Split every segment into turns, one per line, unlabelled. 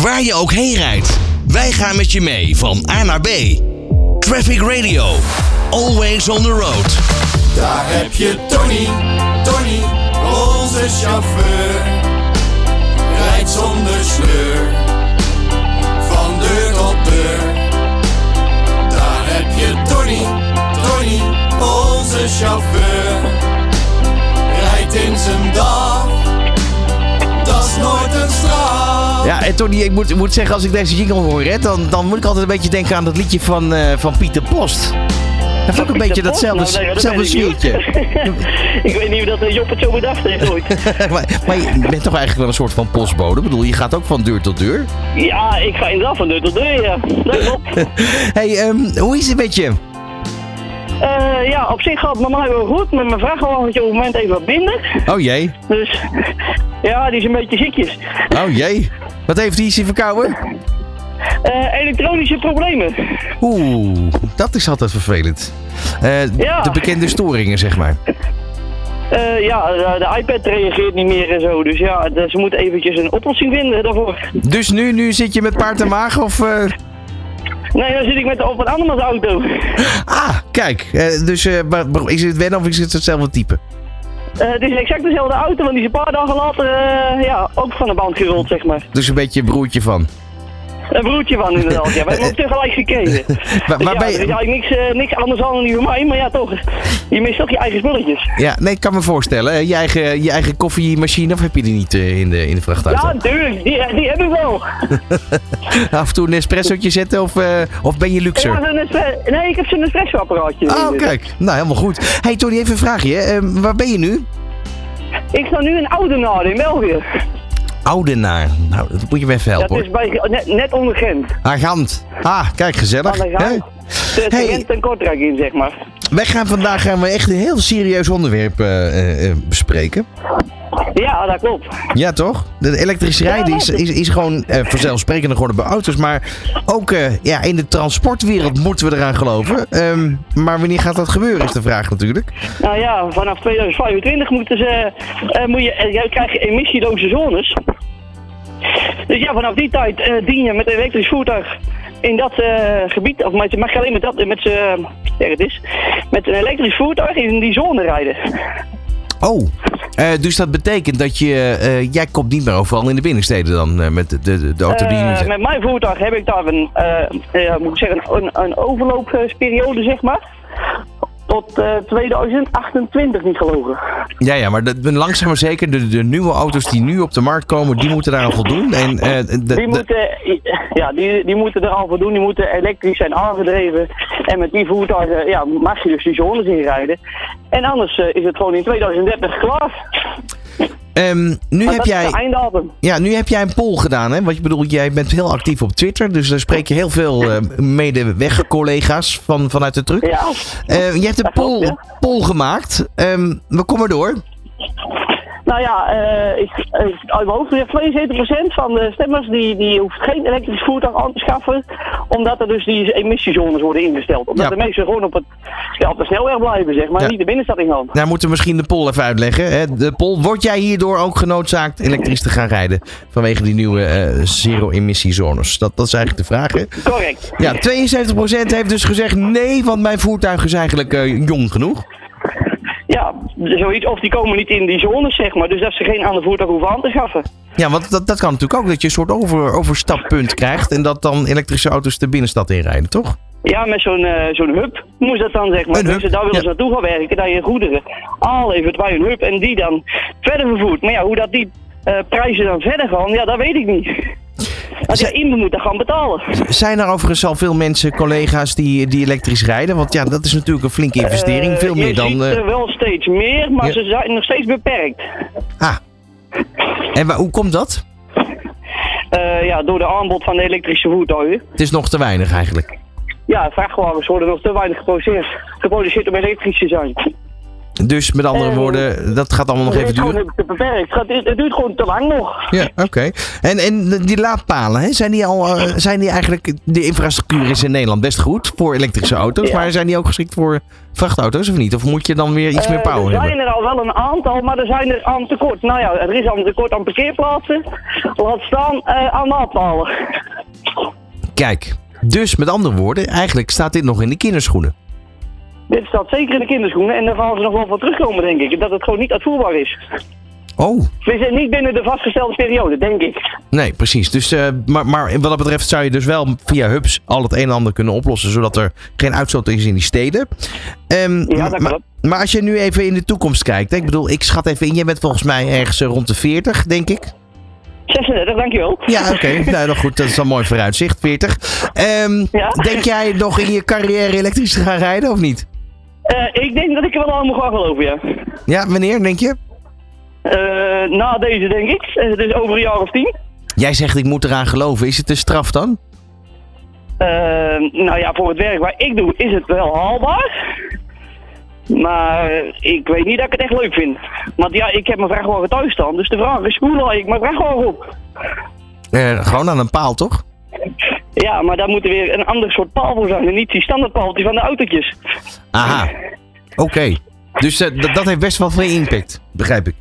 Waar je ook heen rijdt, wij gaan met je mee van A naar B. Traffic Radio, always on the road.
Daar heb je Tony, Tony, onze chauffeur. Rijdt zonder sleur, van deur tot deur. Daar heb je Tony, Tony, onze chauffeur. Rijdt in zijn dag, dat is nooit een straf.
Ja, en Tony, ik moet, ik moet zeggen, als ik deze jingle hoor, hè, dan, dan moet ik altijd een beetje denken aan dat liedje van, eh, van Pieter Post. Dat vond ik een beetje
Pieter Post?
datzelfde,
Nou, nee, dat
hetzelfde
weet ik niet.
sfeertje.
ik weet niet of dat eh, Job het zo bedacht heeft ooit.
maar, maar je bent toch eigenlijk wel een soort van postbode? Ik bedoel, je gaat ook van deur tot deur.
ja, ik ga inderdaad van deur tot deur, ja. Dat klopt.
hey, ehm, hoe is het met je?
Eh, ja, op zich gaat het normaal heel goed, maar mijn vrachtwagentje op het moment even wat minder.
Oh jee,
Dus ja, die is een beetje ziekjes.
oh jee. Wat heeft die? Is hij verkouden?
Eh, elektronische problemen.
Oeh, dat is altijd vervelend. Eh,
Ja.
De bekende storingen, zeg maar.
Eh, ja, de, de iPad reageert niet meer en zo. Dus ja, de- ze moeten eventjes een oplossing vinden daarvoor.
Dus nu, nu zit je met paard en maag of... eh,
Nee, dan zit ik met de op een andermans auto.
Ah, kijk. Eh, dus eh, maar- maar is het wennen of is het hetzelfde type?
Eh, het is exact dezelfde auto, want die is een paar dagen later eh, ja, ook van de band gerold, zeg maar.
Dus een beetje een broertje van.
Een broertje van inderdaad, ja. We hebben ook tegelijk gekeken.
Maar, maar
ja,
ben
er is
je...
eigenlijk niks, eh, niks anders aan dan die van mij, maar ja, toch. Je mist toch je eigen spulletjes.
Ja, nee, ik kan me voorstellen. Eh, Je eigen, je eigen koffiemachine, of heb je die niet eh, in, de, in de vrachtauto?
Ja, natuurlijk, die, die heb ik wel.
Af en toe een espressootje zetten of, eh, of ben je luxer?
Ja, zo'n espre- nee, ik heb zo'n espresso-apparaatje. eh,
Oh, kijk. Nou, helemaal goed. hey, Tony, even een vraagje. hè. Eh, waar ben je nu?
Ik sta nu in Oudenaarde in België.
Oudenaar. Nou, dat moet je me even
Dat
helpen,
is
hoor.
bij, net, net onder Gent.
Agant. Ah, kijk, gezellig.
Aan de Dus
hè?
gang. De
Hey.
Gent en Kortrijk in, zeg maar.
Wij gaan vandaag gaan we echt een heel serieus onderwerp eh, eh, eh, bespreken.
Ja, dat klopt.
Ja, toch? De elektrische rijden is, is, is gewoon eh, vanzelfsprekend geworden bij auto's. Maar ook eh, ja, in de transportwereld moeten we eraan geloven. Ehm, maar wanneer gaat dat gebeuren, is de vraag natuurlijk.
Nou ja, vanaf 2025 moeten ze, eh, moet je, eh, jij krijgt emissieloze zones. Dus ja, vanaf die tijd eh, dien je met een elektrisch voertuig in dat eh, gebied, of met, mag je alleen met dat, met, z'n- ja, het is, met een elektrisch voertuig in die zone rijden.
Oh, eh, dus dat betekent dat je... eh, jij komt niet meer overal in de binnensteden dan eh, met de, de, de auto die je nu
Eh,
zet.
met mijn voertuig heb ik daar een, eh, eh, moet ik zeggen, een, een overloopperiode, zeg maar. Tot eh, 2028 niet gelogen.
Ja, ja, maar dat, langzaam maar zeker, de, de nieuwe auto's die nu op de markt komen, die moeten daar aan voldoen. En, eh, de-
Die
de-
moeten, ja, die, die moeten er al voor doen. Die moeten elektrisch zijn aangedreven. En met die voertuigen ja, mag je dus die zones inrijden. En anders eh, is het gewoon in 2030 klaar.
Ehm, nu,
Maar
heb
dat is de
jij,
einddatum.
ja, nu heb jij een poll gedaan, hè? Want je bedoelt, jij bent heel actief op Twitter, dus daar spreek je heel veel eh, medeweg-collega's van, vanuit de truck.
Ja.
Eh, je hebt een
Dat klopt,
poll, poll gemaakt. Ehm, we komen door.
Nou ja, eh, ik, eh, uit mijn hoofd gezegd, 72% van de stemmers die, die hoeft geen elektrisch voertuig aan te schaffen. Omdat er dus die emissiezones worden ingesteld. Omdat
Ja.
de mensen gewoon op, het, ja, op de snelweg blijven, zeg maar.
Ja.
Niet de binnenstad in gaan.
Daar moeten we misschien de poll even uitleggen. Hè? De poll, word jij hierdoor ook genoodzaakt elektrisch te gaan rijden? Vanwege die nieuwe eh, zero-emissiezones. Dat, dat is eigenlijk de vraag, hè?
Correct.
Ja, 72% heeft dus gezegd nee, want mijn voertuig is eigenlijk eh, jong genoeg.
Ja, zoiets. Of die komen niet in die zones, zeg maar. Dus dat ze geen ander voertuig hoeven aan te schaffen.
Ja, want dat, dat kan natuurlijk ook, dat je een soort over, overstappunt krijgt en dat dan elektrische auto's de binnenstad inrijden, toch?
Ja, met zo'n eh, zo'n hub moest dat dan, zeg maar.
Een hub,
Dus daar willen
ja.
ze naartoe gaan werken, dat je goederen aanlevert bij een hub en die dan verder vervoert. Maar ja, hoe dat die eh, prijzen dan verder gaan, ja, dat weet ik niet. Als je
Ze-
in moet, dan gaan betalen.
Zijn er overigens al veel mensen, collega's die, die elektrisch rijden? Want ja, dat is natuurlijk een flinke investering,
Eh,
veel
je
meer dan...
ziet
eh,
er wel steeds meer, maar
Ja.
ze zijn nog steeds beperkt.
ah. En wa- hoe komt dat?
Eh, ja, door de aanbod van de elektrische voertuigen.
Het is nog te weinig eigenlijk.
Ja, vrachtwagens worden nog te weinig geproduceerd, geproduceerd om elektrisch te zijn.
Dus met andere
Eh,
woorden, dat gaat allemaal nog
Het
even
is gewoon
duren.
te beperkt. Het, gaat- het duurt gewoon te lang nog.
Ja, oké. En, en die laadpalen, hè, zijn die al, eh, zijn die eigenlijk, de infrastructuur is in Nederland best goed voor elektrische auto's,
Ja.
maar zijn die ook geschikt voor vrachtauto's of niet? Of moet je dan weer iets meer
Eh,
power
er
hebben?
zijn er al wel een aantal, maar er zijn er aan tekort. Nou ja, er is aan tekort aan parkeerplaatsen. Laat staan eh, aan laadpalen.
Kijk, dus met andere woorden, eigenlijk staat dit nog in de kinderschoenen.
Dit staat zeker in de kinderschoenen en daar gaan ze nog wel voor terugkomen, denk ik. Dat het gewoon niet uitvoerbaar is.
Oh,
We zijn niet binnen de vastgestelde periode, denk ik.
nee, precies. Dus, eh, maar, maar wat dat betreft zou je dus wel via hubs al het een en ander kunnen oplossen, zodat er geen uitstoot is in die steden. Ehm,
Ja, dat
maar-
klopt.
Maar als je nu even in de toekomst kijkt, hè, ik bedoel, ik schat even in, jij bent volgens mij ergens eh, rond de 40, denk ik.
36, dankjewel. Eh,
Ja, oké. Nou, dan goed. Dat is dan mooi vooruitzicht, 40. Ehm,
Ja.
Denk jij nog in je carrière elektrisch te gaan rijden of niet?
Eh, ik denk dat ik er wel aan mag gaan geloven, ja.
Ja, wanneer, denk je?
Eh, na deze, denk ik. Eh, dus over een jaar of tien.
Jij zegt ik moet eraan geloven. Is het een straf dan?
Eh, nou ja, voor het werk waar ik doe is het wel haalbaar. Maar ik weet niet dat ik het echt leuk vind. Want ja, ik heb mijn vrachtwagen thuis staan. Dus de vraag is, hoe laai ik mijn vrachtwagen op?
Eh, gewoon aan een paal, toch?
Ja, maar daar moet er weer een ander soort paal voor zijn. En niet die standaardpaaltjes van de autootjes.
Aha. Oké. Dus eh, dat- dat heeft best wel veel impact, begrijp ik.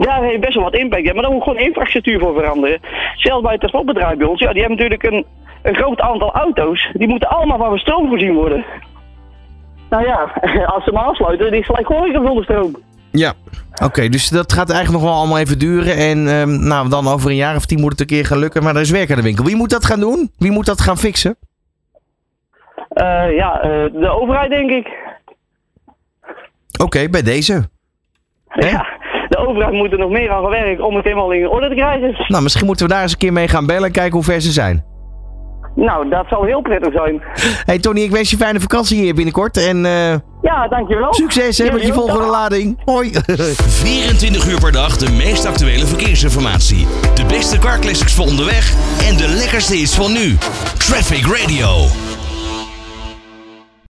Daar heeft best wel wat impact. Ja, maar daar moet gewoon infrastructuur voor veranderen. Zelfs bij het transportbedrijf bij ons, ja, die hebben natuurlijk een, een groot aantal auto's. Die moeten allemaal van stroom voorzien worden. Nou ja, als ze me aansluiten, die is gelijk gewoon weer zonder stroom.
Ja. Oké, dus dat gaat eigenlijk nog wel allemaal even duren. En ehm, nou, dan over een jaar of tien moet het een keer gaan lukken. Maar er is werk aan de winkel. Wie moet dat gaan doen? Wie moet dat gaan fixen?
Eh, ja, eh, de overheid denk ik.
Oké, bij deze. Hè?
Ja, de overheid moet er nog meer aan gaan werken om het helemaal in orde te krijgen.
Nou, misschien moeten we daar eens een keer mee gaan bellen en kijken hoe ver ze zijn.
Nou, dat zou heel prettig zijn.
Hey Tony, ik wens je fijne vakantie hier binnenkort. En eh,
Ja, dankjewel.
succes hè, met je
Jullie ook.
volgende lading. Hoi.
24 uur per dag de meest actuele verkeersinformatie. De beste car classics voor onderweg en de lekkerste is van nu. Traffic Radio.